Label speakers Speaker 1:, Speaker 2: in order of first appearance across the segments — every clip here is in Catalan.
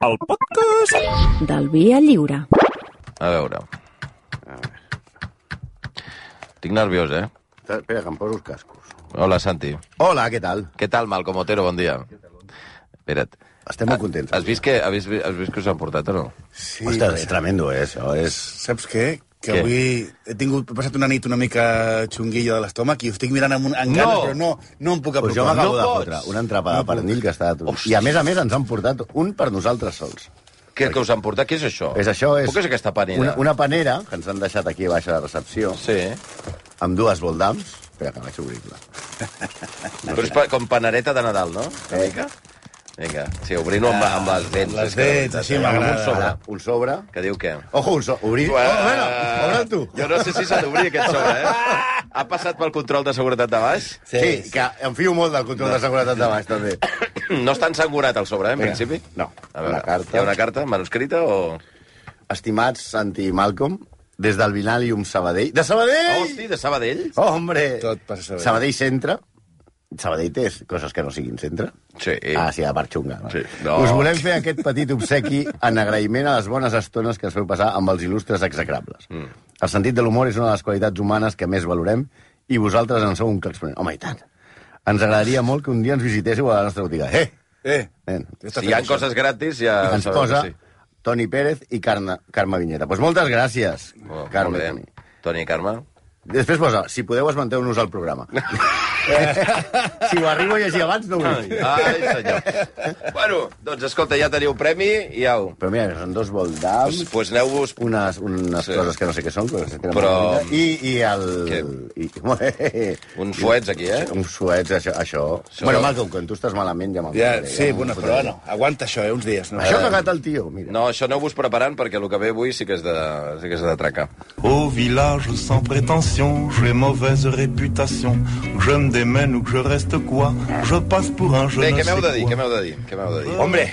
Speaker 1: el podcast.
Speaker 2: Del Via Lliure.
Speaker 3: A veure. Estic nerviós, eh?
Speaker 4: Espera, que em poso els cascos.
Speaker 3: Hola, Santi.
Speaker 4: Hola, què tal?
Speaker 3: Què tal, Malcom Otero? Bon dia. Espera't.
Speaker 4: Estem molt contents.
Speaker 3: Has vist que, has vist, has vist que us han portat o no?
Speaker 4: Sí, Ostres, és tremendo, eh, això. És...
Speaker 5: Saps què? Que
Speaker 3: Què?
Speaker 5: avui he tingut, he passat una nit una mica xunguilla de l'estómac i ho estic mirant amb un, amb
Speaker 3: No!
Speaker 5: ganes, però no, no em puc
Speaker 4: Pues jo
Speaker 5: apropar.
Speaker 4: m'acabo
Speaker 3: No
Speaker 4: de
Speaker 3: pots.
Speaker 4: fotre una entrapada de pernil que està de tot. I a més a més ens han portat un per nosaltres sols.
Speaker 3: Què, que us han portat? Què és això?
Speaker 4: És això, és...
Speaker 3: Puc és aquesta panera?
Speaker 4: Una, una panera que ens han deixat aquí a baixa de recepció,
Speaker 3: Sí. eh?
Speaker 4: amb dues voldams. Espera, que vaig obrir-la.
Speaker 3: Però és pa, com panereta de Nadal, no?
Speaker 4: Eh.
Speaker 3: Una mica? Vinga, sí, obrint-ho amb, amb les dents.
Speaker 5: les
Speaker 3: és que de
Speaker 5: dents,
Speaker 3: veritat,
Speaker 5: així
Speaker 3: eh? Amb
Speaker 5: m'agrada.
Speaker 3: Un sobre.
Speaker 4: Ara, un sobre.
Speaker 3: Que diu què?
Speaker 4: Ojo, un sobre. Obrir...
Speaker 3: Bueno,
Speaker 4: Oh, bueno, obre'l tu.
Speaker 3: Jo no sé si s'ha d'obrir aquest sobre, eh? Ha passat pel control de seguretat de baix?
Speaker 4: Sí, sí, que em fio molt del control de seguretat de baix, també.
Speaker 3: No està ensangonat el sobre, eh, en
Speaker 4: Vinga.
Speaker 3: principi?
Speaker 4: No.
Speaker 3: A veure,
Speaker 4: Una carta.
Speaker 3: Hi ha una carta manuscrita o...?
Speaker 4: Estimats Santi i Malcolm, des del Vinalium Sabadell... De Sabadell!
Speaker 3: Ah, Hosti, de Sabadell?
Speaker 4: Hombre!
Speaker 5: Tot passa a Sabadell.
Speaker 4: Sabadell centre. Sabadell té coses que no siguin centre.
Speaker 3: Sí.
Speaker 5: Eh.
Speaker 4: Ah, sí, a part xunga. no?
Speaker 3: Sí. No.
Speaker 4: Us volem fer aquest petit obsequi en agraïment a les bones estones que ens feu passar amb els il·lustres execrables. Mm. El sentit de l'humor és una de les qualitats humanes que més valorem i vosaltres en sou un clar exponent. Home, i tant. Ens agradaria molt que un dia ens visitéssiu a la nostra botiga. Eh!
Speaker 5: Eh,
Speaker 4: Nen,
Speaker 3: Si hi ha coses gratis, ja...
Speaker 4: ens
Speaker 3: sabeu que
Speaker 4: posa
Speaker 3: sí.
Speaker 4: Toni Pérez i Carme, Carme Vinyeta. Doncs pues moltes gràcies,
Speaker 3: Oh, molt
Speaker 4: Carme.
Speaker 3: bé.
Speaker 4: Toni.
Speaker 3: Toni i Carme.
Speaker 4: Després posa, si podeu, esmenteu-nos al programa. si ho arribo a llegir abans, no ho
Speaker 3: Ai,
Speaker 4: vull.
Speaker 3: ai, senyor. bueno, doncs escolta, ja teniu premi i au.
Speaker 4: Però mira, són dos
Speaker 3: Doncs
Speaker 4: voldams,
Speaker 3: pues aneu-vos...
Speaker 4: unes, unes
Speaker 3: Sí.
Speaker 4: sí. coses que no sé què són, però... que tenen
Speaker 3: Però-
Speaker 4: molt de vida, I, i el... I...
Speaker 3: Uns fuets aquí, eh?
Speaker 4: Uns suets, això... això...
Speaker 3: Això-
Speaker 4: Bueno, Malcolm, quan tu estàs malament ja me'l
Speaker 5: ja,
Speaker 4: posaré,
Speaker 5: sí,
Speaker 4: me'l
Speaker 5: bueno, però
Speaker 4: posaré.
Speaker 5: bueno, aguanta això, eh, uns dies. No?
Speaker 4: Això ha cagat el tio, mira.
Speaker 3: No, això aneu-vos preparant, perquè el que ve avui sí que és de, sí que és de tracar.
Speaker 6: Au village sans prétention, j'ai mauvaise réputation. Que je me démène ou que je reste quoi, je passe pour un jeune.
Speaker 3: Bé, què m'heu de dir? Què m'heu de dir? Què m'heu de dir?
Speaker 5: Hombre,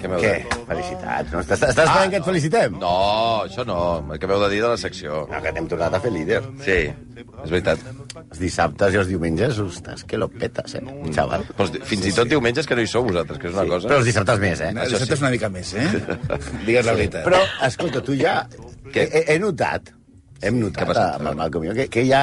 Speaker 3: Què m'heu de
Speaker 4: Què?
Speaker 3: dir?
Speaker 4: Felicitats. No? Estàs, estàs esperant que et felicitem?
Speaker 3: Ah, No, això no. El que m'heu de dir de la secció.
Speaker 4: No, que t'hem tornat a fer líder.
Speaker 3: Sí, és veritat.
Speaker 4: Els dissabtes i els diumenges, ostres, que lo petes, eh, xaval.
Speaker 3: Doncs, fins i tot diumenges que no hi sou vosaltres, que és una cosa...
Speaker 4: Però els dissabtes més, eh?
Speaker 5: això sí. una mica més, eh? Digues la veritat.
Speaker 4: Però, escolta, tu ja...
Speaker 3: Què?
Speaker 4: He, he, he notat, hem notat
Speaker 3: Què ha passat?
Speaker 4: amb el Malcom i jo, que, que ja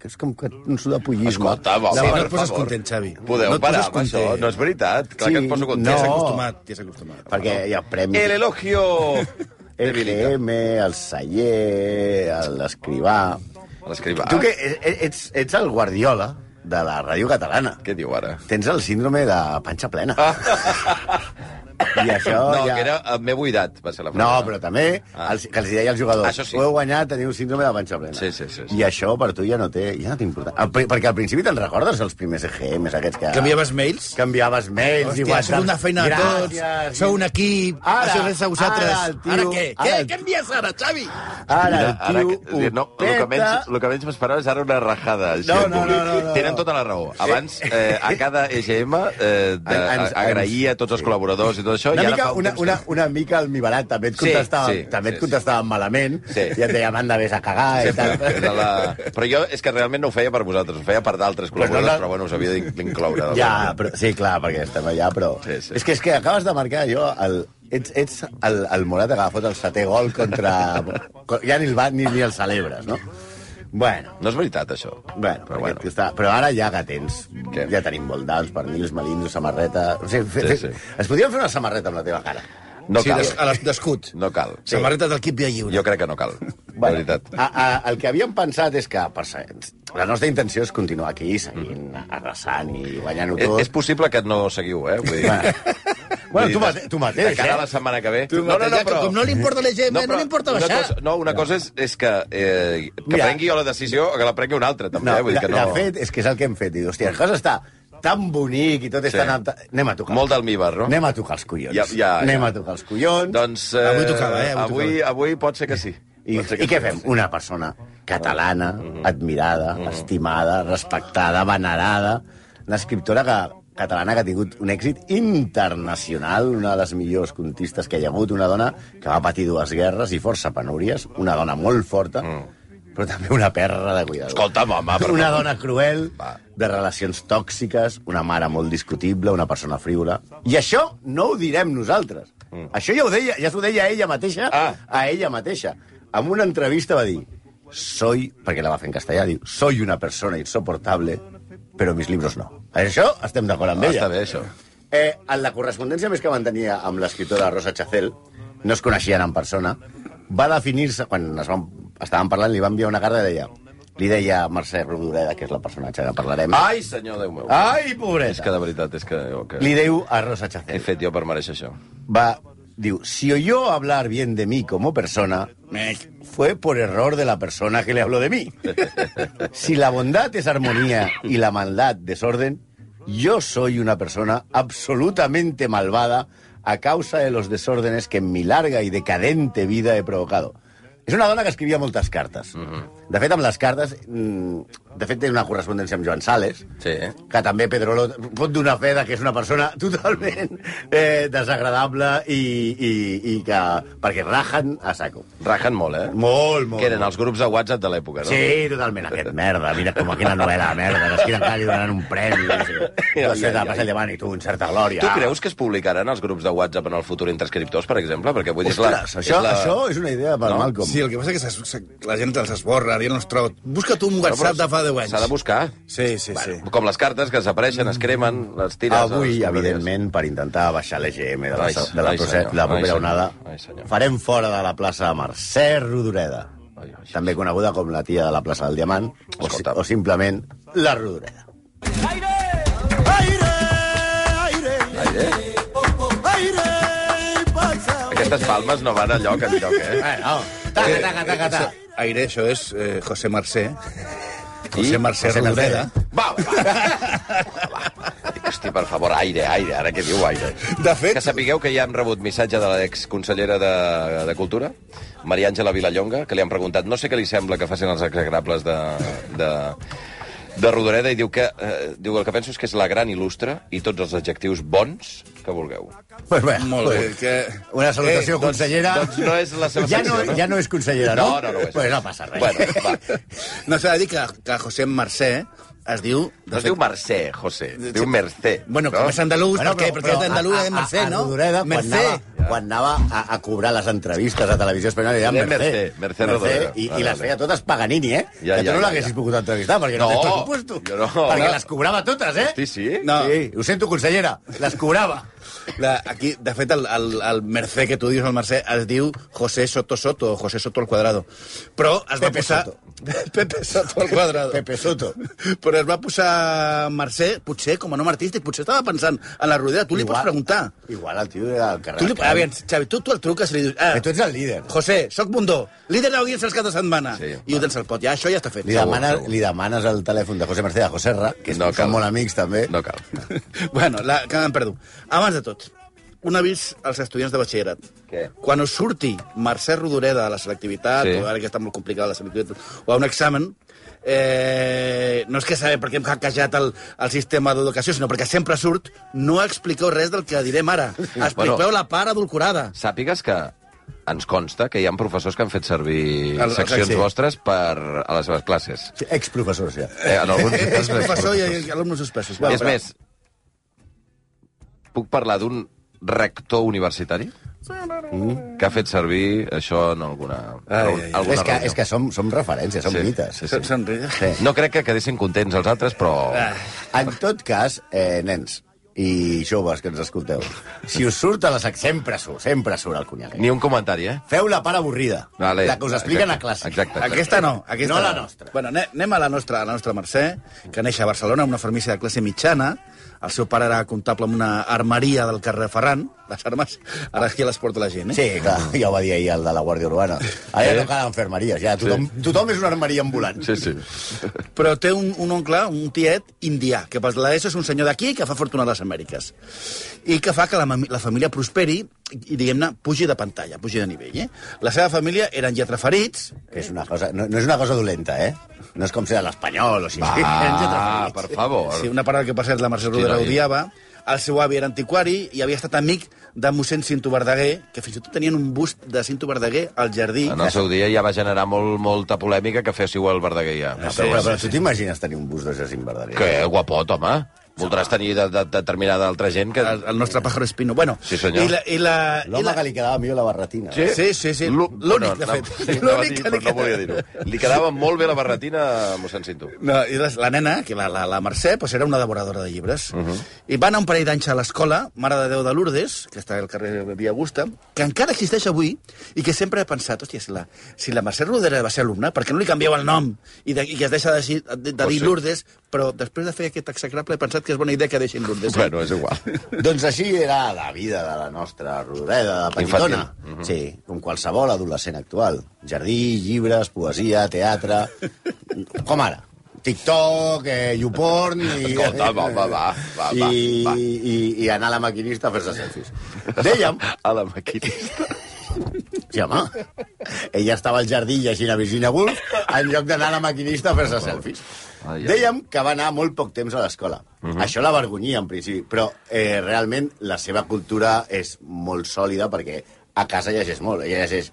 Speaker 4: que és com que un sudapollisme.
Speaker 3: Escolta, va,
Speaker 5: Sí,
Speaker 3: va,
Speaker 5: no
Speaker 3: per
Speaker 5: et poses
Speaker 3: favor.
Speaker 5: content, Xavi.
Speaker 3: Podeu
Speaker 5: no
Speaker 3: no
Speaker 5: et
Speaker 3: parar
Speaker 5: poses
Speaker 3: amb això?
Speaker 5: content.
Speaker 3: No és veritat. Clar
Speaker 4: Sí,
Speaker 3: que et poso
Speaker 4: no.
Speaker 3: content.
Speaker 5: T'hi has acostumat, t'hi has acostumat.
Speaker 4: Perquè hi ha premis.
Speaker 3: El elogio
Speaker 4: El
Speaker 3: debilita.
Speaker 4: GM, el celler, l'escrivà...
Speaker 3: Ah. L'escrivà.
Speaker 4: Tu que e- ets, ets el guardiola de la ràdio catalana.
Speaker 3: Què diu ara?
Speaker 4: Tens el síndrome de panxa plena. I això
Speaker 3: Ah. no,
Speaker 4: ja...
Speaker 3: que era eh, m'he buidat, va ser la
Speaker 4: No,
Speaker 3: frase.
Speaker 4: però també
Speaker 3: Ah.
Speaker 4: els, que els hi deia als jugadors.
Speaker 3: Això sí.
Speaker 4: Ho heu guanyat, teniu síndrome de panxa plena.
Speaker 3: Sí, sí, sí, sí.
Speaker 4: I això per tu ja no té, ja no t'importa. Al pri- Perquè al principi te'n recordes els primers EGMs aquests que...
Speaker 5: Canviaves mails?
Speaker 4: Canviaves mails i
Speaker 5: Hòstia,
Speaker 4: WhatsApp.
Speaker 5: sou una feina a tots,
Speaker 4: Gràcies.
Speaker 5: sou un equip,
Speaker 4: Ara,
Speaker 5: això és a vosaltres.
Speaker 4: ara el tio-
Speaker 5: ara què?
Speaker 4: ara
Speaker 5: què?
Speaker 4: el-
Speaker 5: Què envies ara, Xavi?
Speaker 4: Ara
Speaker 3: Mira, ara
Speaker 4: el
Speaker 3: que,
Speaker 4: tio ho
Speaker 3: no, el que menys, el que menys m'esperava és ara una rajada. així,
Speaker 4: No,
Speaker 3: en
Speaker 4: no,
Speaker 3: públic.
Speaker 4: no, no, no.
Speaker 3: Tenen tota la raó. Abans, eh, a cada EGM, eh, de,
Speaker 4: Ens- ens-
Speaker 3: a- agraïa a tots els col·laboradors i tot això.
Speaker 4: Una
Speaker 3: i ara
Speaker 4: mica,
Speaker 3: fa un
Speaker 4: una,
Speaker 3: temps
Speaker 4: una,
Speaker 3: que-
Speaker 4: una mica el Mibarat també et
Speaker 3: Sí,
Speaker 4: contestava,
Speaker 3: sí,
Speaker 4: també
Speaker 3: sí,
Speaker 4: et contestava malament
Speaker 3: Sí.
Speaker 4: i et deia, manda, vés a cagar i tal.
Speaker 3: Sempre, era Eh, la... Però jo és que realment no ho feia per vosaltres, ho feia per d'altres col·laboradors, però,
Speaker 4: la-
Speaker 3: bueno, us havia d'in- d'incloure. d'alguna
Speaker 4: Ja,
Speaker 3: manera.
Speaker 4: però, sí, clar, perquè estem allà, però...
Speaker 3: Sí, sí.
Speaker 4: És que és que acabes de marcar jo... El, ets ets el, el Morata que ha fot el setè gol contra... co- ja ni el, va, ni, ni el celebres, no? Bueno,
Speaker 3: No és veritat, això.
Speaker 4: bueno,
Speaker 3: però
Speaker 4: però,
Speaker 3: bueno.
Speaker 4: Està, però ara ja que tens...
Speaker 3: Què?
Speaker 4: Ja tenim voldals, pernils, melins, samarreta... O sigui, fe,
Speaker 3: Sí,
Speaker 4: sí,
Speaker 3: sí.
Speaker 4: Es podria fer una samarreta amb la teva cara?
Speaker 3: No
Speaker 5: sí,
Speaker 3: cal.
Speaker 5: des, a les- d'escut.
Speaker 3: No cal.
Speaker 5: Samarreta del equip Via Lliure.
Speaker 3: Jo crec que no cal, de veritat.
Speaker 4: A, a, el que havíem pensat és que, per ser, la nostra intenció és continuar aquí, seguint, arrasant i guanyant-ho
Speaker 3: Eh, És,
Speaker 4: tot.
Speaker 3: és possible que no seguiu, eh? Vull dir,
Speaker 4: Bueno,
Speaker 3: vull
Speaker 4: tu
Speaker 3: dir,
Speaker 4: mate- tu mateix,
Speaker 3: De cara
Speaker 4: eh?
Speaker 3: a la setmana que ve...
Speaker 5: Tu mateix, ja que Com no li importa la gent, no, no li importa
Speaker 3: una
Speaker 5: baixar.
Speaker 3: cosa, no, una cosa és, és que, eh, que
Speaker 4: Mira.
Speaker 3: prengui jo la decisió o que la prengui un altre, també.
Speaker 4: No,
Speaker 3: eh? Vull dir
Speaker 4: de,
Speaker 3: que no...
Speaker 4: de fet, és que és el que hem fet. Diu, hòstia, la cosa està tan bonic i tot és
Speaker 3: Sí.
Speaker 4: sí. tan... alta- Anem a tocar.
Speaker 3: Molt d'almíbar, no?
Speaker 4: Anem a tocar els collons.
Speaker 3: Ja- ja-
Speaker 4: Anem
Speaker 3: ja.
Speaker 4: a tocar els collons.
Speaker 3: Doncs...
Speaker 5: Avui tocava, eh? Avui
Speaker 3: Avui, avui pot ser que sí.
Speaker 4: I,
Speaker 3: Pot ser que
Speaker 4: I què
Speaker 3: sí.
Speaker 4: fem? Una persona catalana,
Speaker 3: Mm-hmm.
Speaker 4: admirada, estimada, respectada, venerada, una escriptora que, catalana que ha tingut un èxit internacional, una de les millors contistes que hi ha hagut, una dona que va patir dues guerres i força penúries, una dona molt forta,
Speaker 3: Mm.
Speaker 4: però també una perra de cuidador.
Speaker 3: Escolta'm, home, però...
Speaker 4: Una dona cruel,
Speaker 3: Va.
Speaker 4: de relacions tòxiques, una mare molt discutible, una persona frívola. I això no ho direm nosaltres. Mm. Això ja ho deia, ja s'ho deia ella mateixa,
Speaker 3: Ah.
Speaker 4: a ella mateixa. En una entrevista va dir, soy, perquè la va fer en castellà, diu, soy una persona insoportable, però mis libros no. Això estem d'acord amb
Speaker 3: Ah,
Speaker 4: ella.
Speaker 3: està bé, això.
Speaker 4: Eh, en la correspondència més que mantenia amb l'escriptora Rosa Chacel, no es coneixien en persona, va definir-se, quan es van, estaven parlant, li va enviar una carta i deia... Li deia a Mercè Rodoreda, que és la personatge que parlarem.
Speaker 3: Ai, senyor Déu meu.
Speaker 4: Ai
Speaker 3: És que
Speaker 4: pobreta!
Speaker 3: de veritat, és que... Jo, que...
Speaker 4: Li diu a Rosa
Speaker 3: He
Speaker 4: Chacel.
Speaker 3: fet jo per mereixer això.
Speaker 4: Va, diu, si oyó hablar bien de mí como persona,
Speaker 5: Mec.
Speaker 4: fue por error de la persona que le habló de mí. Si la bondad es armonía y la maldad desorden, yo soy una persona absolutamente malvada a causa de los desórdenes que en mi larga y decadente vida he provocado. És una dona que escrivia moltes cartes. De fet, amb les cartes... mm, De fet, té una correspondència amb Joan Sales,
Speaker 3: Sí, eh?
Speaker 4: que també Pedrolo pot donar fe de que és una persona totalment eh, desagradable i, i, i que... perquè rajen a saco.
Speaker 3: Rajen molt, eh?
Speaker 4: Molt, molt.
Speaker 3: Que eren els grups de WhatsApp de l'època, no?
Speaker 4: Sí, totalment. Aquest merda, mira com aquí la novel·la, merda, que esquina encara li donaran un premi. No sé,
Speaker 3: Ai,
Speaker 4: no sé
Speaker 3: ai,
Speaker 4: de
Speaker 3: ai.
Speaker 4: passar llevant i tu, en certa glòria.
Speaker 3: Tu creus que es publicaran els grups de WhatsApp en el futur entre escriptors, per exemple? Perquè vull dir, és la,
Speaker 4: Ostres, això,
Speaker 3: és la...
Speaker 4: això és una idea per
Speaker 3: No?
Speaker 4: no? Malcolm.
Speaker 5: Sí, el que passa és que s'es- se- la gent els esborra, ja no es troba. Busca tu un WhatsApp de fa 10 anys.
Speaker 3: S'ha de buscar.
Speaker 5: Sí, sí, sí.
Speaker 3: Bueno, com les cartes que s'apareixen, es cremen, les tires... a les
Speaker 4: Avui,
Speaker 3: escombraries.
Speaker 4: evidentment, per intentar baixar l'EGM de la,
Speaker 3: Ai,
Speaker 4: de la,
Speaker 3: ai,
Speaker 4: proce-
Speaker 3: senyor,
Speaker 4: de la
Speaker 3: ai,
Speaker 4: propera
Speaker 3: senyor,
Speaker 4: onada,
Speaker 3: ai, senyor.
Speaker 4: farem fora de la plaça Mercè Rodoreda,
Speaker 3: Ai, ai,
Speaker 4: també coneguda com la tia de la plaça del Diamant, o, si-
Speaker 3: Escolta.
Speaker 4: o simplement la Rodoreda.
Speaker 3: Ai, eh? Aquestes palmes no van a lloc, a lloc, eh?
Speaker 4: Bueno, taca, taca, taca, taca.
Speaker 5: Aire, això és eh, José Mercè.
Speaker 3: I?
Speaker 5: José Mercè
Speaker 4: José Mercè.
Speaker 5: Rodoreda.
Speaker 3: Va, va, va. va. Hosti, per favor, aire, aire, ara què diu aire?
Speaker 5: De fet-
Speaker 3: Que sapigueu que ja hem rebut missatge de l'exconsellera de, de Cultura, Maria Àngela Vilallonga, que li han preguntat, no sé què li sembla que facin els exagrables de... de de Rodoreda i diu que, eh, diu el que penso és que és la gran il·lustre i tots els adjectius bons que vulgueu.
Speaker 4: Pues bé,
Speaker 5: Molt bé.
Speaker 4: pues,
Speaker 5: Que... Eh,
Speaker 4: Una salutació,
Speaker 3: doncs-
Speaker 4: consellera.
Speaker 3: doncs no és la seva
Speaker 4: ja
Speaker 3: secció,
Speaker 4: no,
Speaker 3: no?
Speaker 4: Ja no és consellera, no?
Speaker 3: No, no, no ho és.
Speaker 4: Pues no passa res.
Speaker 3: Bueno, va.
Speaker 5: No, s'ha de dir que, que José Mercè es diu...
Speaker 3: No es diu Mercè, José, es diu Mercè.
Speaker 5: Bueno,
Speaker 3: no?
Speaker 5: com és andalús,
Speaker 4: Bueno,
Speaker 5: perquè, perquè és d'Andalús,
Speaker 4: a-
Speaker 5: és
Speaker 4: a-
Speaker 5: Mercè, no?
Speaker 4: A Rodoreda, quan
Speaker 5: Mercè.
Speaker 4: anava, quan anava a, a cobrar les entrevistes a Televisió Espanyola, era
Speaker 3: Era
Speaker 4: Mercè.
Speaker 3: Mercè, Mercè Rodoreda.
Speaker 4: I,
Speaker 3: Vale,
Speaker 4: i les
Speaker 3: vale.
Speaker 4: feia totes Paganini, eh?
Speaker 3: Ja,
Speaker 4: que tu
Speaker 3: ja,
Speaker 4: no
Speaker 3: ja,
Speaker 4: l'haguessis
Speaker 3: ja.
Speaker 4: pogut entrevistar, perquè no,
Speaker 3: No,
Speaker 4: tens pressupuesto.
Speaker 3: jo no.
Speaker 4: Perquè
Speaker 3: No.
Speaker 4: les cobrava totes, eh?
Speaker 3: Sí, sí?
Speaker 5: No.
Speaker 4: Sí, ho sento, consellera, les cobrava.
Speaker 5: La, aquí, de fet, el, el, el Mercè que tu dius, el Mercè, es diu José Soto Soto, o José Soto al quadrado. Però es va
Speaker 4: Pepe
Speaker 5: posar...
Speaker 4: Soto.
Speaker 5: Pepe Soto al quadrado.
Speaker 4: Pepe Soto.
Speaker 5: Però es va posar Mercè, potser com a nom artístic, potser estava pensant en la rodea. Tu li pots preguntar.
Speaker 4: Igual el tio era al carrer.
Speaker 5: Tu li, aviam, Xavi, tu, tu el truques i li dius... Ah,
Speaker 4: Que Eh, tu ets el líder.
Speaker 5: José, soc Bundó, líder d'audiència els caps de setmana.
Speaker 3: Sí,
Speaker 5: I ho tens al pot. Ja, això ja està fet.
Speaker 4: Li demanes, li demanes el telèfon de José Mercè a José Ra, que
Speaker 3: No
Speaker 4: no
Speaker 3: cal.
Speaker 4: són molt amics, també.
Speaker 3: No cal.
Speaker 5: bueno, la, que em perdo. Abans de tot, un avís als estudiants de batxillerat.
Speaker 3: Què?
Speaker 5: Quan us surti Mercè Rodoreda a la selectivitat,
Speaker 3: Sí.
Speaker 5: sí. o ara que està molt complicada la selectivitat, o a un examen, eh, no és que saber perquè hem hackejat el, el sistema d'educació, sinó perquè sempre surt, no expliqueu res del que direm ara. Expliqueu
Speaker 3: Bueno.
Speaker 5: la part adulcorada.
Speaker 3: Sàpigues que ens consta que hi ha professors que han fet servir
Speaker 5: El- el
Speaker 3: seccions
Speaker 5: taxi.
Speaker 3: vostres per a les seves classes.
Speaker 4: Sí, Exprofessors, ja.
Speaker 3: Eh, en alguns
Speaker 5: És
Speaker 3: casos,
Speaker 5: professor i
Speaker 3: professors.
Speaker 5: alumnes suspesos.
Speaker 3: És més, puc parlar d'un rector universitari Mm. que ha fet servir això en alguna,
Speaker 5: Ai, ai, ai.
Speaker 3: alguna
Speaker 4: eh, És que,
Speaker 3: reunió.
Speaker 4: és que som, som referències, som
Speaker 3: Sí,
Speaker 4: mites.
Speaker 3: sí,
Speaker 5: Són- Són...
Speaker 3: No crec que quedessin contents els altres, però...
Speaker 5: Ah.
Speaker 4: En tot cas, eh, nens i joves que ens escolteu, si us surt a les... Sempre surt, sempre surt el conyac.
Speaker 3: Ni un comentari, eh?
Speaker 4: Feu la part avorrida,
Speaker 3: Vale.
Speaker 4: la que us expliquen
Speaker 3: Exacte,
Speaker 4: a classe.
Speaker 3: exacte, exacte.
Speaker 5: Aquesta no, aquesta
Speaker 4: No la nostra.
Speaker 5: Bueno, ane- anem a la nostra, a la nostra Mercè, que neix a Barcelona, en una farmàcia de classe mitjana. El seu pare era comptable en una armeria del carrer Ferran. Les armes, ara aquí les porta la gent, eh?
Speaker 4: Sí, clar,
Speaker 3: Mm.
Speaker 4: ja ho va dir ahir el de la Guàrdia Urbana. Allà no calen enfermeries, ja. Tothom, tothom és una armeria ambulant.
Speaker 3: Sí, sí.
Speaker 5: Però té un, un oncle, un tiet indià, que per l'ESO és un senyor d'aquí que fa fortuna a les Amèriques. I que fa que la, mami- la família prosperi i, diguem-ne, pugi de pantalla, pugi de nivell, eh? La seva família eren lletraferits,
Speaker 4: Que és una cosa, no, no és una cosa dolenta, eh? No és com ser de l'espanyol o si...
Speaker 3: Ah, per favor.
Speaker 5: Sí, una paraula que, per cert, la Mercè
Speaker 3: no,
Speaker 5: Rodera
Speaker 3: i-
Speaker 5: odiava. El seu avi era antiquari i havia estat amic de mossèn Cinto Verdaguer, que fins i tot tenien un bust de Cinto Verdaguer al jardí.
Speaker 3: En el seu dia ja va generar molt, molta polèmica que féssiu el Verdaguer ja.
Speaker 4: No, però, però, però tu t'imagines tenir un bus de Jacint Verdaguer?
Speaker 3: Que guapot, home. Voldràs tenir de, de, determinada altra gent que...
Speaker 5: El, el nostre pájaro espino. Bueno,
Speaker 3: Sí, senyor.
Speaker 5: I la, i la, i
Speaker 4: L'home
Speaker 5: la...
Speaker 4: que li quedava millor la barretina.
Speaker 3: Sí?
Speaker 5: Sí, sí, sí.
Speaker 3: L'ú-
Speaker 5: L'únic, de
Speaker 3: no,
Speaker 5: fet.
Speaker 3: No, sí,
Speaker 5: L'únic
Speaker 3: anava a dir,
Speaker 5: que li
Speaker 3: però no volia
Speaker 5: quedava.
Speaker 3: dir-ho. Li quedava molt bé la barretina a mossèn Cinto.
Speaker 5: No, i les, la nena, que la, la, la Mercè, pues, era una devoradora de llibres. Uh
Speaker 3: Mhm.
Speaker 5: -huh. I va anar un parell d'anys a l'escola, Mare de Déu de Lourdes, que està al carrer Via Augusta, que encara existeix avui, i que sempre he pensat, hòstia, si la, si la Mercè Rodera va ser alumna, per què no li canvieu el nom i, de, i que es deixa de, dir- de, de
Speaker 3: Pot
Speaker 5: dir
Speaker 3: ser.
Speaker 5: Lourdes? Però després de fer aquest execrable he pensat que és bona idea que deixin Lourdes. eh?
Speaker 3: Bueno, és igual.
Speaker 4: Doncs així era la vida de la nostra rodeda de petitona.
Speaker 3: Infantil.
Speaker 4: Mm -hmm. Sí, com qualsevol adolescent actual. Jardí, llibres, poesia, teatre... com ara. TikTok, eh, YouPorn... I,
Speaker 3: Escolta, va, va, va, va, va,
Speaker 4: i,
Speaker 3: va.
Speaker 4: I, I anar a la maquinista a fer-se selfies. Dèiem...
Speaker 3: A la maquinista.
Speaker 4: Sí, home. Ella estava al jardí llegint a Virginia Woolf en lloc d'anar a la maquinista a fer-se selfies.
Speaker 3: Ai, Mhm. ai.
Speaker 4: Dèiem que va anar molt poc temps a l'escola. Això la vergonyia, en principi, però eh, realment la seva cultura és molt sòlida perquè a casa llegeix molt. Ella llegeix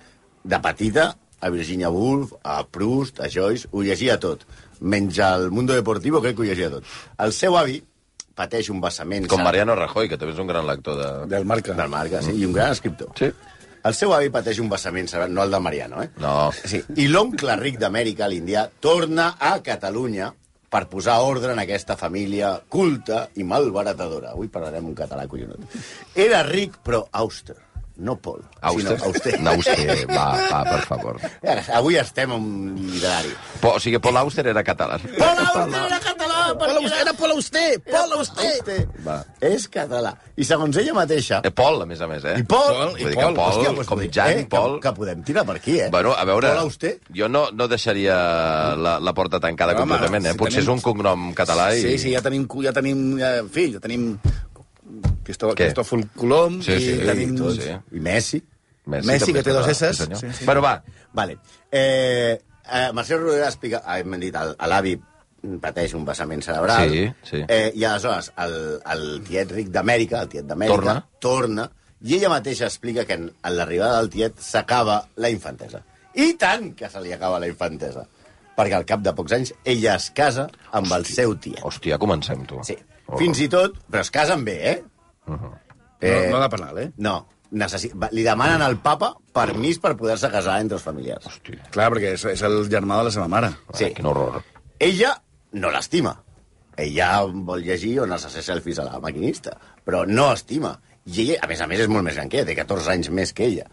Speaker 4: de petita a Virginia Woolf, a Proust, a Joyce, ho llegia tot. Menys al Mundo Deportivo, crec que ho llegia tot. El seu avi pateix un vessament...
Speaker 3: Com
Speaker 4: cere-
Speaker 3: Mariano Rajoy, que també és un gran lector de...
Speaker 5: Del Marca.
Speaker 4: del Marca, sí, i un gran escriptor.
Speaker 3: Sí.
Speaker 4: El seu avi pateix un vessament cerebral, no el de Mariano, eh?
Speaker 3: No.
Speaker 4: Sí. I l'oncle ric d'Amèrica, l'Indià, torna a Catalunya per posar ordre en aquesta família culta i malbaratadora. Avui parlarem un català, collonut. Era ric, però auster, no Paul.
Speaker 3: Auster?
Speaker 4: Sinó auster.
Speaker 3: No, auster. Va, va, per favor.
Speaker 4: Avui estem en un literari.
Speaker 3: Po, o sigui, Paul Auster era català.
Speaker 4: Paul Auster era català!
Speaker 5: Pol
Speaker 4: perquè
Speaker 5: Auster, era Pol Auster! Pol Auster!
Speaker 4: Auster. Va. És català. I segons ella mateixa...
Speaker 3: Eh, Paul, a més a més, eh?
Speaker 4: I Pol,
Speaker 3: Vull dir que Paul,
Speaker 4: Hòstia, doncs,
Speaker 3: com Jan,
Speaker 4: eh,
Speaker 3: Paul...
Speaker 4: Que, que podem tirar per aquí, eh?
Speaker 3: Bueno, a veure,
Speaker 4: Paul Auster.
Speaker 3: jo no, no deixaria la, la porta tancada
Speaker 5: Home,
Speaker 3: completament, eh?
Speaker 5: si
Speaker 3: Potser és
Speaker 5: tenim-
Speaker 3: un cognom català i...
Speaker 5: Sí, sí, ja tenim, cu- ja tenim eh, en fi, ja tenim Cristó,
Speaker 3: Què?
Speaker 5: Cristòfol Colom
Speaker 3: Sí, sí,
Speaker 5: i tenim
Speaker 3: i tot, sí.
Speaker 4: I Messi.
Speaker 5: Messi,
Speaker 3: també
Speaker 5: que
Speaker 3: és
Speaker 5: té dos
Speaker 3: català,
Speaker 5: S's.
Speaker 3: senyor.
Speaker 5: Sí, sí.
Speaker 3: Bueno, va,
Speaker 4: Vale. Eh, eh, Mercè Rodríguez explica... Ah, hem dit, el- l'avi pateix un vessament cerebral.
Speaker 3: Sí, sí.
Speaker 4: Eh, I aleshores el, el tiet ric d'Amèrica, el tiet d'Amèrica,
Speaker 3: Torna.
Speaker 4: torna. I ella mateixa explica que en, en l'arribada del tiet s'acaba la infantesa. I tant que se li acaba la infantesa. Perquè al cap de pocs anys ella es casa amb el seu tiet.
Speaker 3: hòstia, comencem, tu.
Speaker 4: Sí. Oh. Fins i tot... Però es casen bé, eh?
Speaker 5: Eh... No, no de penal, eh?
Speaker 4: No, necessi... va- li demanen al papa permís per poder-se casar entre els familiars.
Speaker 3: Hòstia, eh,
Speaker 5: Clar, perquè és, és el germà de la seva mare.
Speaker 4: Sí.
Speaker 3: quin horror.
Speaker 4: Ella no l'estima. Ella vol llegir on es fa selfies a la maquinista, però no estima. I ella, a més a més, és molt més gran que ella, té 14 anys més que ella.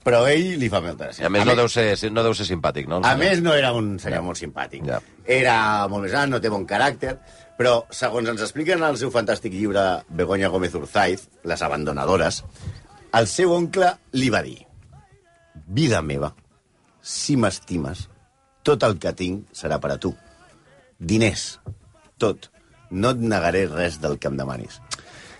Speaker 4: Però ell li fa molta
Speaker 3: I
Speaker 4: gràcia.
Speaker 3: a més, no deu, ser, no deu ser simpàtic, no? el
Speaker 4: A
Speaker 3: senyor?
Speaker 4: més, no era un senyor molt simpàtic.
Speaker 3: Ja.
Speaker 4: Era molt més gran, no té bon caràcter, però, segons ens expliquen en el seu fantàstic llibre Begoña Gómez Urzaiz, Les abandonadores, el seu oncle li va dir Vida meva, si m'estimes, tot el que tinc serà per a tu. Diners, tot. No et negaré res del que em demanis.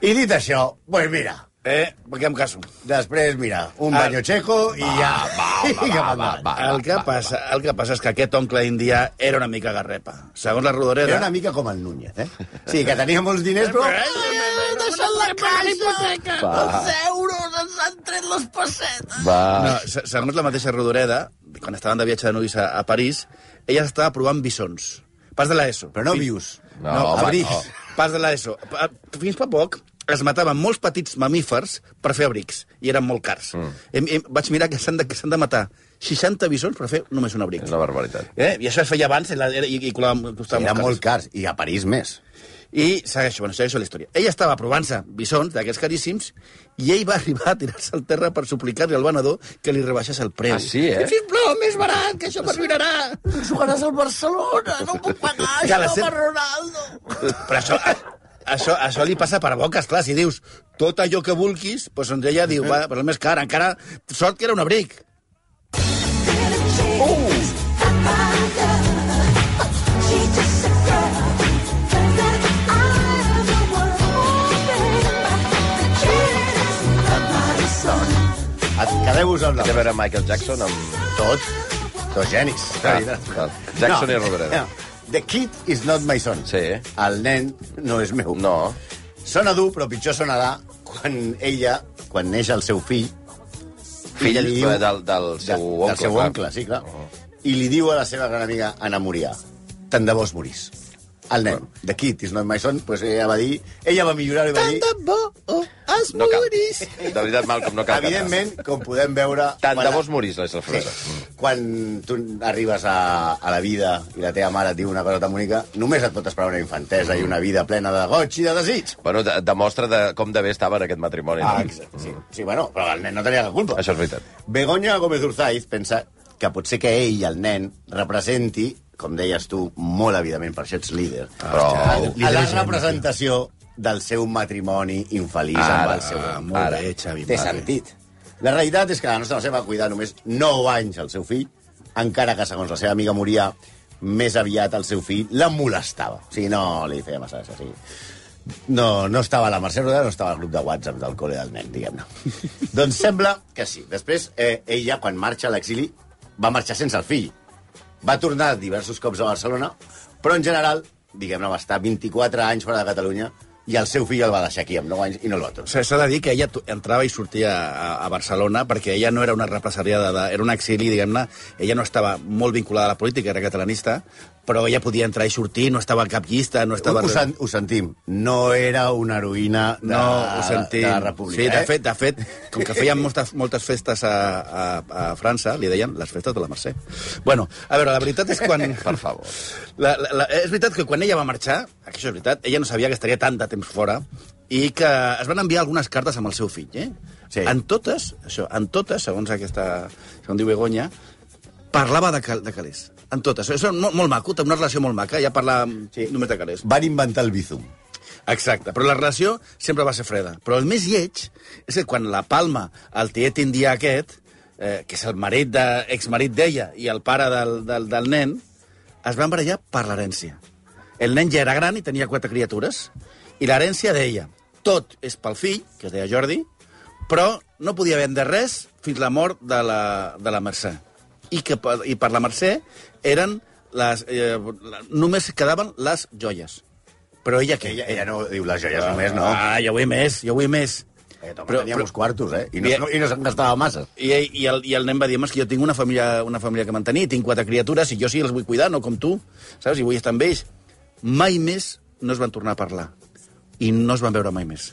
Speaker 4: I dit això, doncs pues mira,
Speaker 5: Eh, perquè em caso.
Speaker 4: després, mira, un
Speaker 5: Ah.
Speaker 4: baño checo i ja...
Speaker 3: va, va,
Speaker 4: i cap
Speaker 3: va,
Speaker 4: endavant.
Speaker 3: Ah, va,
Speaker 5: el, que passa, el que passa és que aquest oncle indià era una mica garrepa. Segons la Rodoreda...
Speaker 4: Era una mica com el Núñez, eh? Sí, que tenia molts diners, però...
Speaker 5: eh? Ai,
Speaker 1: deixat la caixa, hipoteca,
Speaker 4: Va.
Speaker 1: els euros, ens han tret les pessetes.
Speaker 5: No,
Speaker 3: Va,
Speaker 5: se- segons la mateixa Rodoreda, quan estaven de viatge de nois a, a París, ella estava provant bisons. Pas de l'ESO.
Speaker 4: Però no
Speaker 5: Fins-
Speaker 4: vius.
Speaker 3: No,
Speaker 5: no,
Speaker 3: home,
Speaker 5: abrics.
Speaker 3: no.
Speaker 5: Pas de l'ESO. Pa- Fins fa poc es mataven molts petits mamífers per fer abrics, i eren molt cars. Mm. Hem, hem, vaig mirar que s'han de, que s'han de matar 60 bisons per fer només un abric.
Speaker 3: és una barbaritat.
Speaker 5: Eh? I això es feia abans i, la, era- i, i colava, costava
Speaker 4: Eren molt
Speaker 5: molt,
Speaker 4: cars, i a París més.
Speaker 5: car. I segueixo, bueno, segueixo la història. Ella estava provant-se bisons d'aquests caríssims i ell va arribar a tirar-se al terra per suplicar-li al venedor que li rebaixés el preu.
Speaker 3: Ah, sí, eh?
Speaker 5: Sisplau, més barat, que això pervirarà.
Speaker 1: Jugaràs al Barcelona, no puc pagar
Speaker 5: Ja
Speaker 1: això
Speaker 5: la sé.
Speaker 1: per Ronaldo.
Speaker 5: Però això, això, això li passa per boques, clar, si dius tot allò que vulguis, doncs doncs ella diu, va, però el més car, encara, sort que era un abric.
Speaker 4: Et quedeu-vos amb la...
Speaker 3: Té a veure Michael Jackson amb...
Speaker 4: Tot. Dos genis.
Speaker 3: Ah, ah, Jackson i Rodoreda.
Speaker 4: No. The kid is not my son.
Speaker 3: Sí.
Speaker 4: El nen no és meu.
Speaker 3: No.
Speaker 4: Sona dur, però pitjor sonarà quan ella, quan neix el seu fill...
Speaker 3: Fill
Speaker 4: ella
Speaker 3: eh, del- del seu oncle,
Speaker 4: Del seu
Speaker 3: clar. Oh.
Speaker 4: oncle, sí, clar. I li diu a la seva gran amiga Anna Murià, tant de bo es morís. El nen, de Kid is not my son, pues ella va dir... Ella va millorar i va dir...
Speaker 5: bo oh, es
Speaker 3: No cal. De veritat, Malcolm, no cal.
Speaker 4: Evidentment, com podem veure...
Speaker 3: Tant
Speaker 4: quan
Speaker 3: de
Speaker 4: la-
Speaker 3: vos morís, és la
Speaker 4: Sí.
Speaker 3: frase. Mm.
Speaker 4: Quan tu arribes a, a la vida i la teva mare et diu una cosa tan bonica, només et pot esperar una infantesa i una vida plena de goig i de desig.
Speaker 3: Bueno, de, demostra de com de bé estava en aquest matrimoni.
Speaker 4: Ah,
Speaker 3: no?
Speaker 4: exacte. Sí, sí, bueno, però el nen no tenia la culpa.
Speaker 3: Això és veritat.
Speaker 4: Begoña Gómez Urzaiz pensa que potser que ell i el nen representi, com deies tu, molt evidentment, per això ets líder,
Speaker 3: Però-
Speaker 4: a la representació del seu matrimoni infeliç
Speaker 3: Ara,
Speaker 4: amb el seu
Speaker 5: Ah,
Speaker 4: nen.
Speaker 5: molt
Speaker 3: Ara. eh,
Speaker 5: bé, Xavi.
Speaker 4: Té
Speaker 5: molt bé.
Speaker 4: sentit. La realitat és que la nostra Mercè va cuidar només 9 anys el seu fill, encara que, segons la seva amiga Morià, més aviat el seu fill la molestava. O sigui, no li feia massa gràcia, sí. No, no estava a la Mercè Rodà, no estava al grup de WhatsApp del col·le del nen, diguem-ne. doncs sembla que sí. Després, eh, ella, quan marxa a l'exili, va marxar sense el fill. Va tornar diversos cops a Barcelona, però en general, diguem-ne, va estar 24 anys fora de Catalunya i el seu fill el va deixar aquí amb 9 anys i no el va tornar.
Speaker 5: S'ha s'ha de dir que ella to- entrava i sortia a, a Barcelona perquè ella no era una represaliada, de, era un exili, diguem-ne. Ella no estava molt vinculada a la política, era catalanista, però ella podia entrar i sortir, no estava a cap llista, no estava...
Speaker 4: Ho, ho, sen, ho sentim. No era una heroïna de,
Speaker 5: No, ho sentim.
Speaker 4: de la República.
Speaker 5: sí, de
Speaker 4: eh?
Speaker 5: fet, de fet, com que feien moltes, moltes festes a, a, a França, li deien les festes de la Mercè. Bueno, a veure, la veritat és quan...
Speaker 3: Per favor.
Speaker 5: La, la, la, és veritat que quan ella va marxar, això és veritat, ella no sabia que estaria tant de temps fora i que es van enviar algunes cartes amb el seu fill, eh?
Speaker 4: Sí.
Speaker 5: En totes, això, en totes, segons aquesta... segons diu Begoña, parlava de, cal, de calés. En totes. Això és molt, molt maco, té una relació molt maca, ja parla sí. només de calés.
Speaker 4: Van inventar el bizum.
Speaker 5: Exacte, però la relació sempre va ser freda. Però el més lleig és que quan la Palma, el tiet indià aquest, eh, que és el marit de, exmarit d'ella i el pare del, del, del nen, es van barallar per l'herència. El nen ja era gran i tenia quatre criatures, i l'herència d'ella. Tot és pel fill, que es deia Jordi, però no podia vendre res fins la mort de la, de la Mercè. I, que, per- I per la Mercè eren les, eh, la, només quedaven les joies. Però ella què?
Speaker 4: Ella, ella no diu les joies només, no?
Speaker 5: Ah, jo vull més, jo vull més.
Speaker 4: Eh, toma, però, tenia però... uns quartos, eh? I no,
Speaker 5: Bien.
Speaker 4: no, i no se'n gastava massa.
Speaker 5: I, i, el, I el nen va dir, home, és que jo tinc una família, una família que mantenir, tinc quatre criatures, i jo sí els vull cuidar, no com tu, saps? I vull estar amb ells. Mai més no es van tornar a parlar. I no es van veure mai més.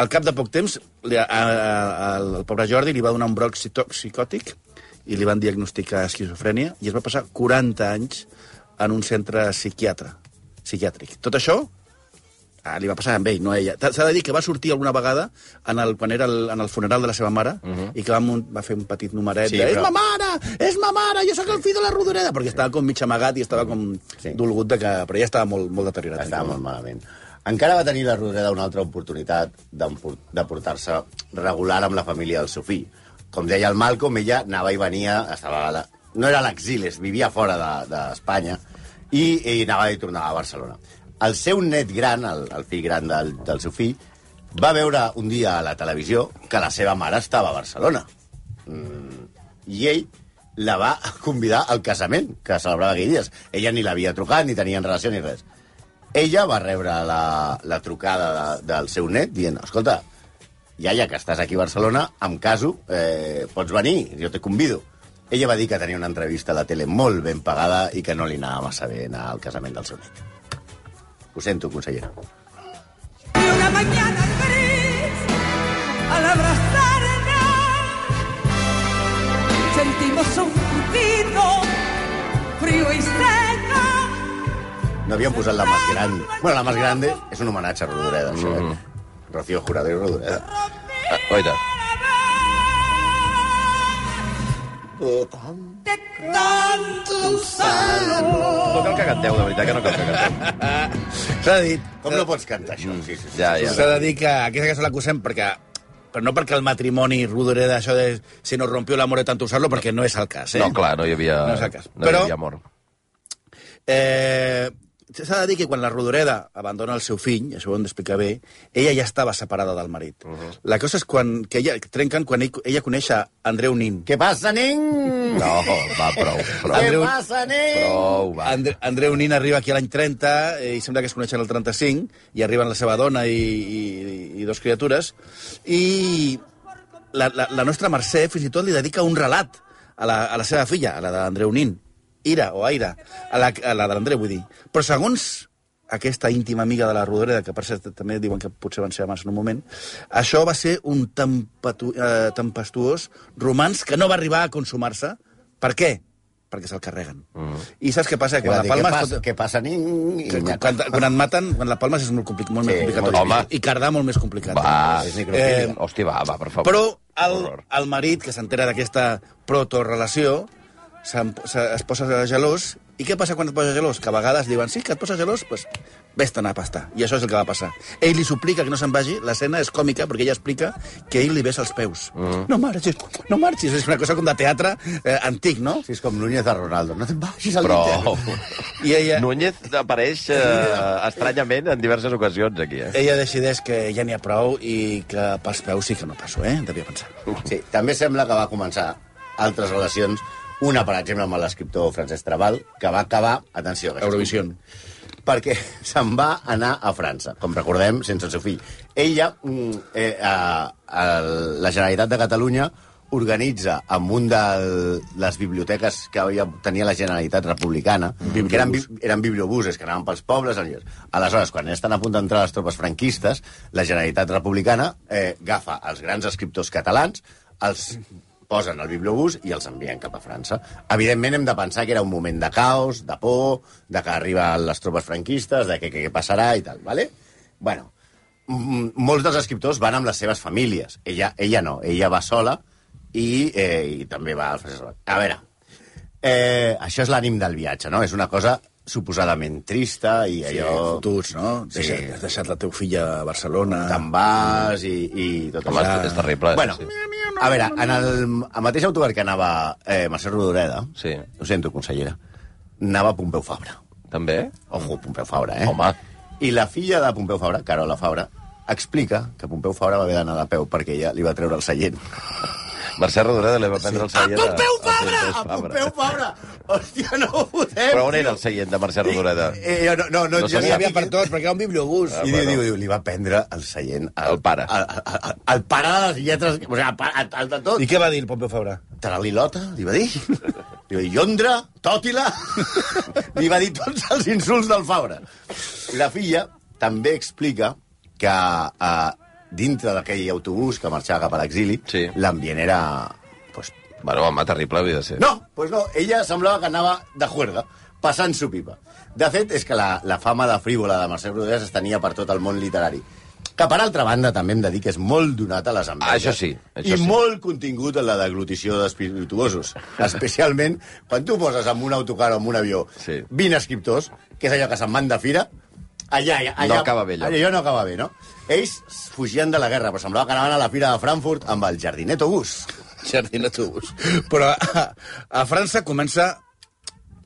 Speaker 5: Al cap de poc temps, li- a, a, a, el pobre Jordi li va donar un broc psito- psicòtic i li van diagnosticar esquizofrènia i es va passar 40 anys en un centre psiquiatre, psiquiàtric. Tot això Ah, li va passar amb ell, no a ella. T'ha- S'ha de dir que va sortir alguna vegada en el, quan era el, en el funeral de la seva mare uh -huh. i que va, mun- va fer un petit numeret
Speaker 4: Mhm. Sí,
Speaker 5: sí, de «És
Speaker 4: però-
Speaker 5: ma mare! És ma mare! Jo sóc el fill de la Rodoreda!» perquè estava com mig amagat i estava com
Speaker 4: Sí.
Speaker 5: sí. dolgut de que... Però ja estava molt, molt deteriorat.
Speaker 4: Estava molt malament. Encara va tenir la Rodreda una altra oportunitat d'empor- de portar-se regular amb la família del seu fill. Com deia el Malcolm, ella anava i venia, estava a la... no era a l'exili, es vivia fora de- d'Espanya, de, i, i anava i tornava a Barcelona. El seu net gran, el, el fill gran del, del seu fill, va veure un dia a la televisió que la seva mare estava a Barcelona. Mm, I ell la va convidar al casament, que celebrava aquell dies. Ella ni l'havia trucat, ni tenien relació, ni res ella va rebre la, la trucada de, del seu net dient, escolta, iaia, que estàs aquí a Barcelona, em caso, eh, pots venir, jo te convido. Ella va dir que tenia una entrevista a la tele molt ben pagada i que no li anava massa bé anar al casament del seu net. Ho sento, consellera.
Speaker 2: Y una mañana gris, al abrazarnos, sentimos un putido frío y seco.
Speaker 4: No havien posat la més gran. Bueno, la més grande és un homenatge a Rodoreda. Mm
Speaker 5: Mm-hmm.
Speaker 4: -hmm. Rocío Jurado i Rodoreda.
Speaker 3: Ah, oita.
Speaker 2: De tanto salvo.
Speaker 3: No cal que canteu, de veritat, que no cal que canteu.
Speaker 5: S'ha de dir...
Speaker 4: Com no pots cantar això?
Speaker 5: Mm-hmm.
Speaker 4: Sí, sí, sí.
Speaker 3: Ja, ja.
Speaker 5: S'ha de dir que aquesta cançó l'acusem perquè però no perquè el matrimoni Rodoreda, això de si no rompió l'amor de tant usar-lo, perquè no és el cas, eh?
Speaker 3: No, clar, no hi havia...
Speaker 5: No és el cas.
Speaker 3: No hi
Speaker 5: Però-
Speaker 3: havia amor.
Speaker 5: Eh, s'ha de dir que quan la Rodoreda abandona el seu fill, això ho hem d'explicar bé, ella ja estava separada del marit. Uh -huh. La cosa és quan, que ella que trenquen quan ell, ella coneix a Andreu Nin.
Speaker 4: Què passa, nen?
Speaker 3: No, va, prou,
Speaker 4: Què
Speaker 3: prou.
Speaker 5: Andreu-
Speaker 4: passa, nen?
Speaker 3: Prou, Oh, va.
Speaker 5: Andre, Andreu Nin arriba aquí a l'any 30, eh, i sembla que es coneixen el 35, i arriben la seva dona i, i, i dos criatures, i la, la, la nostra Mercè fins i tot li dedica un relat a la, a la seva filla, a la d'Andreu Nin, Ira o Aira, a la, a la de l'Andreu, vull dir. Però segons aquesta íntima amiga de la Rodoreda, que per cert també diuen que potser van ser amants en un moment, això va ser un tempetu, eh, tempestuós romans que no va arribar a consumar-se. Per què? Perquè se'l carreguen. Mm. I saps què passa? Que
Speaker 4: Què
Speaker 5: Quan la Palma... es
Speaker 4: passa,
Speaker 5: pot-
Speaker 4: què passa, nen? I
Speaker 5: que-
Speaker 4: nyap.
Speaker 5: Quan, quan et maten, quan la Palma és molt, complic, molt
Speaker 4: Sí,
Speaker 5: més complicat.
Speaker 4: molt
Speaker 3: Home.
Speaker 5: I Cardà molt més complicat.
Speaker 3: Va,
Speaker 4: És
Speaker 5: eh,
Speaker 4: necrofília.
Speaker 3: hòstia, va, va, per favor.
Speaker 5: Però el,
Speaker 3: Horror.
Speaker 5: el marit, que s'entera d'aquesta protorrelació, se'n- se- es posa gelós. I què passa quan et posa gelós? Que a vegades diuen, sí, que et posa gelós, doncs vés-te'n a pastar. I això és el que va passar. Ell li suplica que no se'n vagi. L'escena és còmica, perquè ella explica que ell li besa els peus. Mm. No marxis, no marxis. És una cosa com de teatre eh, antic, no?
Speaker 4: Sí, és com Núñez de Ronaldo. No te'n vagis al
Speaker 3: Prou.
Speaker 4: Inter.
Speaker 5: I ella...
Speaker 3: Núñez apareix eh, estranyament en diverses ocasions aquí, eh?
Speaker 5: Ella decideix que ja n'hi ha prou i que pels peus sí que no passo, eh? Devia pensar.
Speaker 4: Sí, també sembla que va començar altres relacions. Una, per exemple, amb l'escriptor Francesc Trabal, que va acabar, atenció, que això és
Speaker 5: Eurovisió.
Speaker 4: perquè se'n va anar a França, com recordem, sense el seu fill. Ella, mm, eh, a, a la Generalitat de Catalunya, organitza amb un de les biblioteques que havia, tenia la Generalitat Republicana, que eren, bi- eren bibliobuses que anaven pels pobles. Allò. Aleshores, quan estan a punt d'entrar les tropes franquistes, la Generalitat Republicana eh, agafa els grans escriptors catalans, els posen al bibliobús i els envien cap a França. Evidentment hem de pensar que era un moment de caos, de por, de que arriben les tropes franquistes, de què, què, què passarà i tal, ¿vale? Bueno, mm, molts dels escriptors van amb les seves famílies. Ella, ella no, ella va sola i, eh, i també va al Francesc Raval. A veure, eh, això és l'ànim del viatge, no? És una cosa suposadament trista i
Speaker 5: Sí,
Speaker 4: allò...
Speaker 5: fotuts, no?
Speaker 4: Sí.
Speaker 5: Sí. Has deixat la teu filla a Barcelona.
Speaker 4: te'n vas i, i tot
Speaker 3: Home,
Speaker 4: això.
Speaker 3: és- és terrible, eh?
Speaker 4: Bueno,
Speaker 3: sí.
Speaker 4: a veure, en el, el mateix autocar que anava eh, Mercè Rodoreda,
Speaker 3: Sí.
Speaker 4: ho sento, consellera, anava Pompeu Fabra.
Speaker 3: També?
Speaker 4: Ojo, Pompeu Fabra, eh?
Speaker 3: Home.
Speaker 4: I la filla de Pompeu Fabra, Carola Fabra, explica que Pompeu Fabra va haver d'anar de peu perquè ella li va treure el seient.
Speaker 3: Mercè Rodoreda li va prendre el
Speaker 4: A
Speaker 3: seient...
Speaker 4: Pompeu Fabra!
Speaker 3: Francesc
Speaker 4: A Pompeu Fabra! Hòstia, no ho fotem!
Speaker 3: Però on era el seient de Mercè Rodoreda?
Speaker 4: Eh, eh, no, no, no,
Speaker 3: No
Speaker 4: jo
Speaker 3: se
Speaker 4: n'hi
Speaker 5: Hi
Speaker 3: sap.
Speaker 4: havia
Speaker 5: havia per tots, perquè era un bibliobús.
Speaker 4: I diu, diu, diu, li va prendre el seient... al-
Speaker 3: El pare.
Speaker 4: al- al- al- al pare de les lletres... O sigui, al pare- al, al de tot.
Speaker 5: I què va dir el Pompeu Fabra?
Speaker 4: Taralilota, li va dir. Li va dir Llondra, Tòtila... li va dir tots els insults del Fabra. I La filla també explica que eh, dintre d'aquell autobús que marxava cap a l'exili,
Speaker 3: Sí.
Speaker 4: l'ambient era... Pues,
Speaker 5: eh.
Speaker 3: Bueno, home, terrible havia de ser.
Speaker 4: no, pues no, ella semblava que anava de juerga, passant su pipa. De fet, és que la, la fama de frívola de Mercè Rodríguez es tenia per tot el món literari. Que, per altra banda, també hem de dir que és molt donat a les enveges.
Speaker 3: Ah, Això sí, això
Speaker 4: I
Speaker 3: sí.
Speaker 4: molt contingut en la deglutició d'espirituosos. Especialment quan tu poses amb un autocar o amb un avió
Speaker 3: Sí.
Speaker 4: 20 escriptors, que és allò que se'n van de fira, allà, allà, allà
Speaker 3: No acaba bé, allò.
Speaker 4: Allò no acaba bé, no? Ells fugien de la guerra, però semblava que anaven a la fira de Frankfurt amb el jardinet August.
Speaker 5: Jardí d'autobús. Però a, a França comença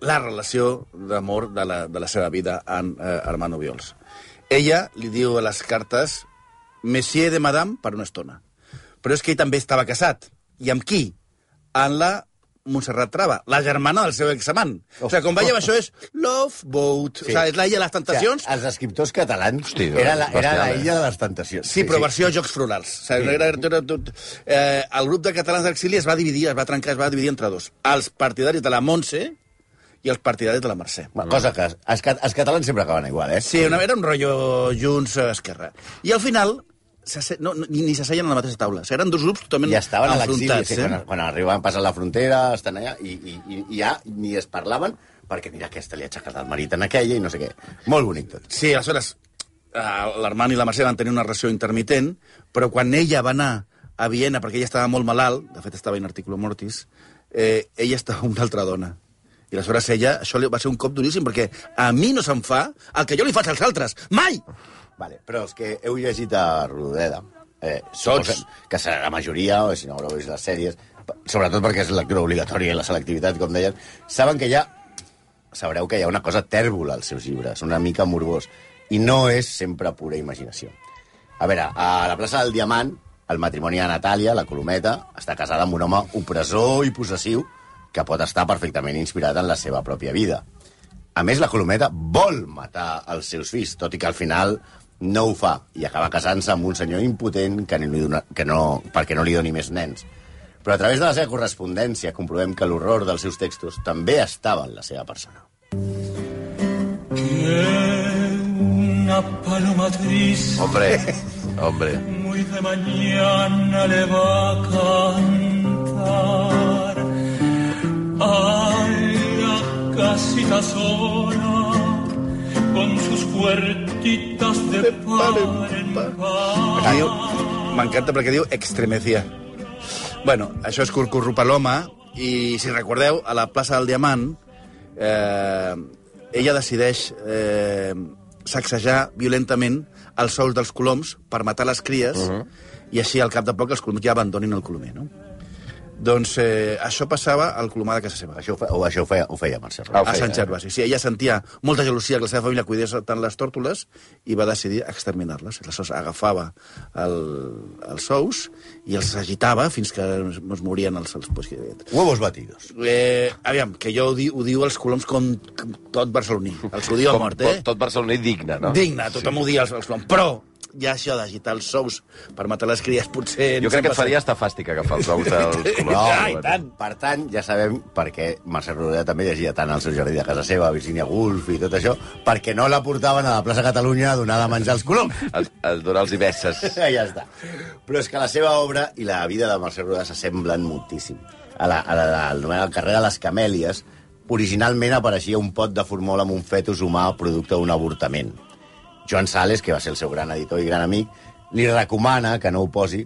Speaker 5: la relació d'amor de, la, de la seva vida amb eh, Armando Viols. Ella li diu a les cartes Monsieur de Madame per una estona. Però és que ell també estava casat. I amb qui? En la Montserrat Trava, la germana del seu examant. O sigui, com veiem, això és Love Boat. Sí. O sigui, és l'illa de les tentacions,
Speaker 4: O sigui, els escriptors catalans
Speaker 3: Hosti,
Speaker 4: era la, era la
Speaker 3: bestial, eh?
Speaker 4: illa de les tentacions.
Speaker 5: Sí, però versió Jocs Florals. O sigui, era, era, era tot, eh, el grup de catalans d'exili es va dividir, es va trencar, es va dividir entre dos. Els partidaris de la Montse i els partidaris de la Mercè.
Speaker 4: Bueno, Cosa que els, els cat- els catalans sempre acaben igual, eh?
Speaker 5: Sí, una, era un rotllo Junts eh, Esquerra. I al final s'asse- no, no, ni ni s'asseien a la mateixa taula. O sigui, eren dos grups totalment
Speaker 4: I estaven a l'exili,
Speaker 5: enfrontats. eh?
Speaker 4: sí, quan, quan arribaven, passen la frontera, estan allà, i, i, i, i ja ni es parlaven, perquè mira, aquesta li ha aixecat el marit en aquella, i no sé què. Molt bonic tot.
Speaker 5: Sí, aleshores, eh, l'Armand i la Mercè van tenir una relació intermitent, però quan ella va anar a Viena, perquè ella estava molt malalt, de fet estava in articulo mortis, eh, ella estava amb una altra dona. I aleshores ella, això li va ser un cop duríssim, perquè a mi no se'n fa el que jo li faig als altres. Mai!
Speaker 4: Vale, però els que heu llegit a Rodoreda, eh,
Speaker 5: Tots.
Speaker 4: suposem que serà la majoria, o si no haureu vist les sèries, p- sobretot perquè és lectura obligatòria i la selectivitat, com deien, saben que hi ha sabreu que hi ha una cosa tèrbola als seus llibres, una mica morbós, i no és sempre pura imaginació. A veure, a la plaça del Diamant, el matrimoni de Natàlia, la Colometa, està casada amb un home opressor i possessiu que pot estar perfectament inspirat en la seva pròpia vida. A més, la Colometa vol matar els seus fills, tot i que al final no ho fa i acaba casant-se amb un senyor impotent que, ni li dona, que no, perquè no li doni més nens. Però a través de la seva correspondència comprovem que l'horror dels seus textos també estava en la seva persona.
Speaker 7: Una paloma triste
Speaker 3: Hombre, hombre.
Speaker 7: muy de mañana le va a cantar a la casita sola con sus puertitas de par en par.
Speaker 5: Diu, m'encanta perquè diu extremecia. Bueno, això és Curcurru Paloma, i si recordeu, a la plaça del Diamant, eh, ella decideix eh, sacsejar violentament els sous dels coloms per matar les cries, uh -huh. i així al cap de poc els coloms ja abandonin el colomer, no? Doncs eh, això passava al colomar de casa seva.
Speaker 4: Això ho feia, o això ho feia, ho feia Mercè Roca.
Speaker 3: Ah, ho
Speaker 5: a
Speaker 3: feia.
Speaker 5: Sant Gervasi. Sí, ella sentia molta gelosia que la seva família cuidés tant les tòrtoles i va decidir exterminar-les. Aleshores agafava el, els sous i els agitava fins que es, es morien els... els pues, que-
Speaker 4: Huevos batidos.
Speaker 5: eh, aviam, que jo ho, di, ho diu els coloms com com tot barceloní. Els ho diu a
Speaker 3: Com-
Speaker 5: mort, eh?
Speaker 3: tot, tot barceloní digne, no?
Speaker 5: Digne, tothom ho dia els, els coloms. Però ja això d'agitar els sous per matar les cries potser...
Speaker 3: Jo
Speaker 5: ens
Speaker 3: crec que
Speaker 5: hem
Speaker 3: et faria estar fàstic agafar els ous dels colors.
Speaker 4: No,
Speaker 5: Ja, i tant.
Speaker 4: Per tant, ja sabem per què Mercè Rodríguez també llegia tant al seu jardí de casa seva, Virginia Woolf i tot això, perquè no la portaven a la plaça Catalunya a donar de menjar als coloms.
Speaker 3: Et, et donar els ibesses.
Speaker 4: ja està. Però és que la seva obra i la vida de Mercè Rodà s'assemblen moltíssim. A la, a la, al nomenat el carrer de les Camèlies, originalment apareixia un pot de formol amb un fetus humà producte d'un avortament. Joan Sales, que va ser el seu gran editor i gran amic, li recomana que no ho posi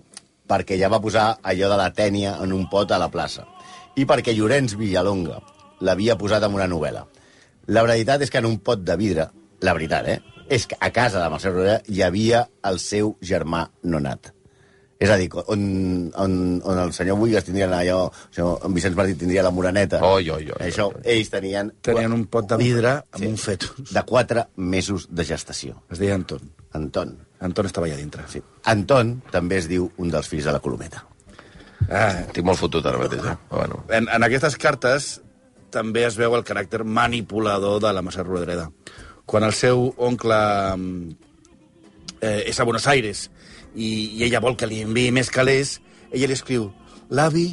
Speaker 4: perquè ja va posar allò de la tènia en un pot a la plaça i perquè Llorenç Villalonga l'havia posat en una novel·la. La veritat és que en un pot de vidre, la veritat, eh? És que a casa de Mercè Rodríguez hi havia el seu germà nonat. És a dir, on, on, on el senyor Buigas tindria allò, el senyor Vicenç Martí tindria la moraneta.
Speaker 3: Oi, oi, oi,
Speaker 4: Això,
Speaker 3: oi, oi.
Speaker 4: ells tenien,
Speaker 5: Tenien un pot de vidre amb sí. un fetus.
Speaker 4: de 4 mesos de gestació.
Speaker 5: Es deia Anton.
Speaker 4: Anton,
Speaker 5: Anton estava allà dintre.
Speaker 4: Sí. Anton també es diu un dels fills de la Colometa.
Speaker 5: Ah,
Speaker 3: Estic molt fotut ara mateix, eh? Però Bueno.
Speaker 5: En, en aquestes cartes també es veu el caràcter manipulador de la Mercè Rodreda. Quan el seu oncle mm, eh, és a Buenos Aires i, i ella vol que li enviï més calés, ella li escriu «L'avi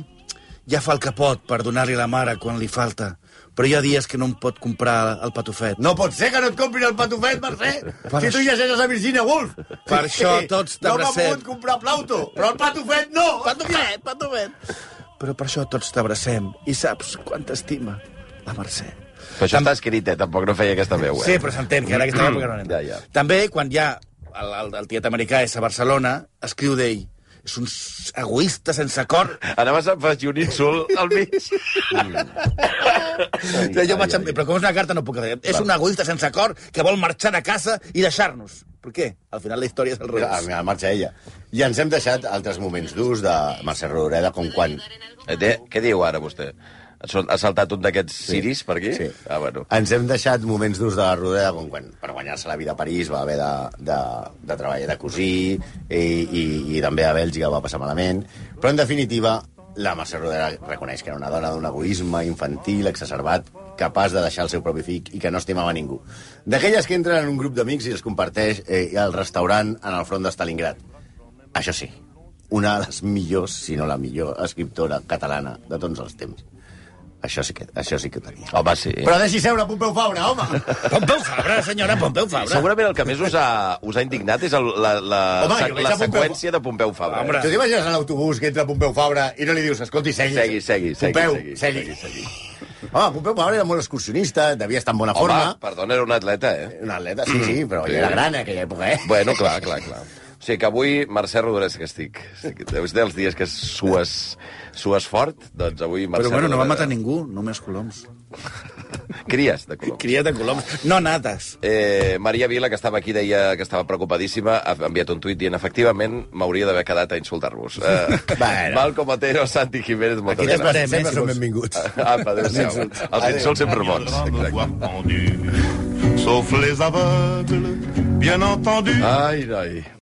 Speaker 5: ja fa el que pot per donar-li a la mare quan li falta, però hi ha dies que no em pot comprar el patufet.
Speaker 4: No pot ser que no et comprin el patufet, Mercè!
Speaker 5: Per
Speaker 4: si tu
Speaker 5: això-
Speaker 4: llegeixes a Virginia Woolf!
Speaker 5: Per això tots
Speaker 4: No m'ha
Speaker 5: t'abracem.
Speaker 4: pogut comprar Plauto, però el patufet no! Patufet, patufet!
Speaker 5: Però per això tots t'abracem i saps quant t'estima la Mercè.
Speaker 3: Però això està escrit, eh? Tampoc no feia aquesta veu, eh?
Speaker 5: Sí, però s'entén que en aquesta època no n'entra.
Speaker 3: Ja, ja.
Speaker 5: També, quan ja el, el, el tiet americà és a Barcelona, escriu d'ell és un egoista sense cor.
Speaker 3: Anaves a afegir un insult al mig.
Speaker 5: Ai, jo ai, vaig, ai. Però com és una carta no puc fer. És un egoista sense cor que vol marxar de casa i deixar-nos. Per què? Al final la història és al
Speaker 4: A,
Speaker 5: revés.
Speaker 4: a marxa ella. I ens hem deixat altres moments durs de Mercè Rodoreda, com quan...
Speaker 3: Eh, té- Què diu ara, vostè? Ha sol- Ha saltat un d'aquests ciris per aquí?
Speaker 4: Sí.
Speaker 3: Ah, bueno.
Speaker 4: Ens hem deixat moments durs de la Rodoreda, com quan per guanyar-se la vida a París va haver de, de, de treballar de cosir i, i, i també a Bèlgica va passar malament. Però, en definitiva, la Mercè Rodoreda reconeix que era una dona d'un egoisme infantil, exacerbat, capaç de deixar el seu propi fill i que no estimava ningú. D'aquelles que entren en un grup d'amics i els comparteix eh, al restaurant en el front de Stalingrad. Això sí, una de les millors, si no la millor, escriptora catalana de tots els temps. Això sí que, això sí que ho tenia.
Speaker 3: Home, sí.
Speaker 4: Però deixi seure Pompeu Fabra, home!
Speaker 5: Pompeu Fabra, senyora Pompeu Fabra.
Speaker 3: Segurament el que més us ha, us ha indignat és el, la, la,
Speaker 4: Home,
Speaker 3: la,
Speaker 4: jo veig
Speaker 3: la
Speaker 4: a Pompeu-
Speaker 3: seqüència de Pompeu Fabra. eh?
Speaker 5: Hombre.
Speaker 4: Tu t'imagines a l'autobús que entra Pompeu Fabra i no li dius, escolti, segui,
Speaker 3: Segui, segui, segui,
Speaker 4: Pompeu,
Speaker 3: segui, segui,
Speaker 4: segui.
Speaker 3: segui.
Speaker 4: Home, Pompeu Fabra era molt excursionista, devia estar en bona
Speaker 3: Home,
Speaker 4: forma.
Speaker 3: perdona, era un atleta, eh?
Speaker 4: Una atleta, sí, sí, però
Speaker 3: Sí.
Speaker 4: ja era gran en aquella època, eh?
Speaker 3: Bueno, clar, clar, clar. O sigui que avui, Mercè Rodorès, que estic... estic deus dels dies que sues, sues fort, doncs avui Mercè
Speaker 5: Però bueno, no va
Speaker 3: Rodoreda-
Speaker 5: matar ningú, només coloms.
Speaker 3: Cries de coloms.
Speaker 5: Criat de coloms. No nades.
Speaker 3: Eh, Maria Vila, que estava aquí, deia que estava preocupadíssima, ha enviat un tuit dient efectivament m'hauria d'haver quedat a insultar-vos. Eh,
Speaker 4: Bueno.
Speaker 3: Malcom Otero, Santi Jiménez, moltes
Speaker 5: Aquí
Speaker 3: gràcies.
Speaker 5: t'esperem. eh,
Speaker 4: Sempre
Speaker 5: mesos.
Speaker 4: són benvinguts.
Speaker 3: Apa, adéu-siau. Els insults sempre bons.
Speaker 6: me
Speaker 3: Exacte.
Speaker 6: voir pendu, sauf les aveugles, bien entendu.
Speaker 3: Ai, noi.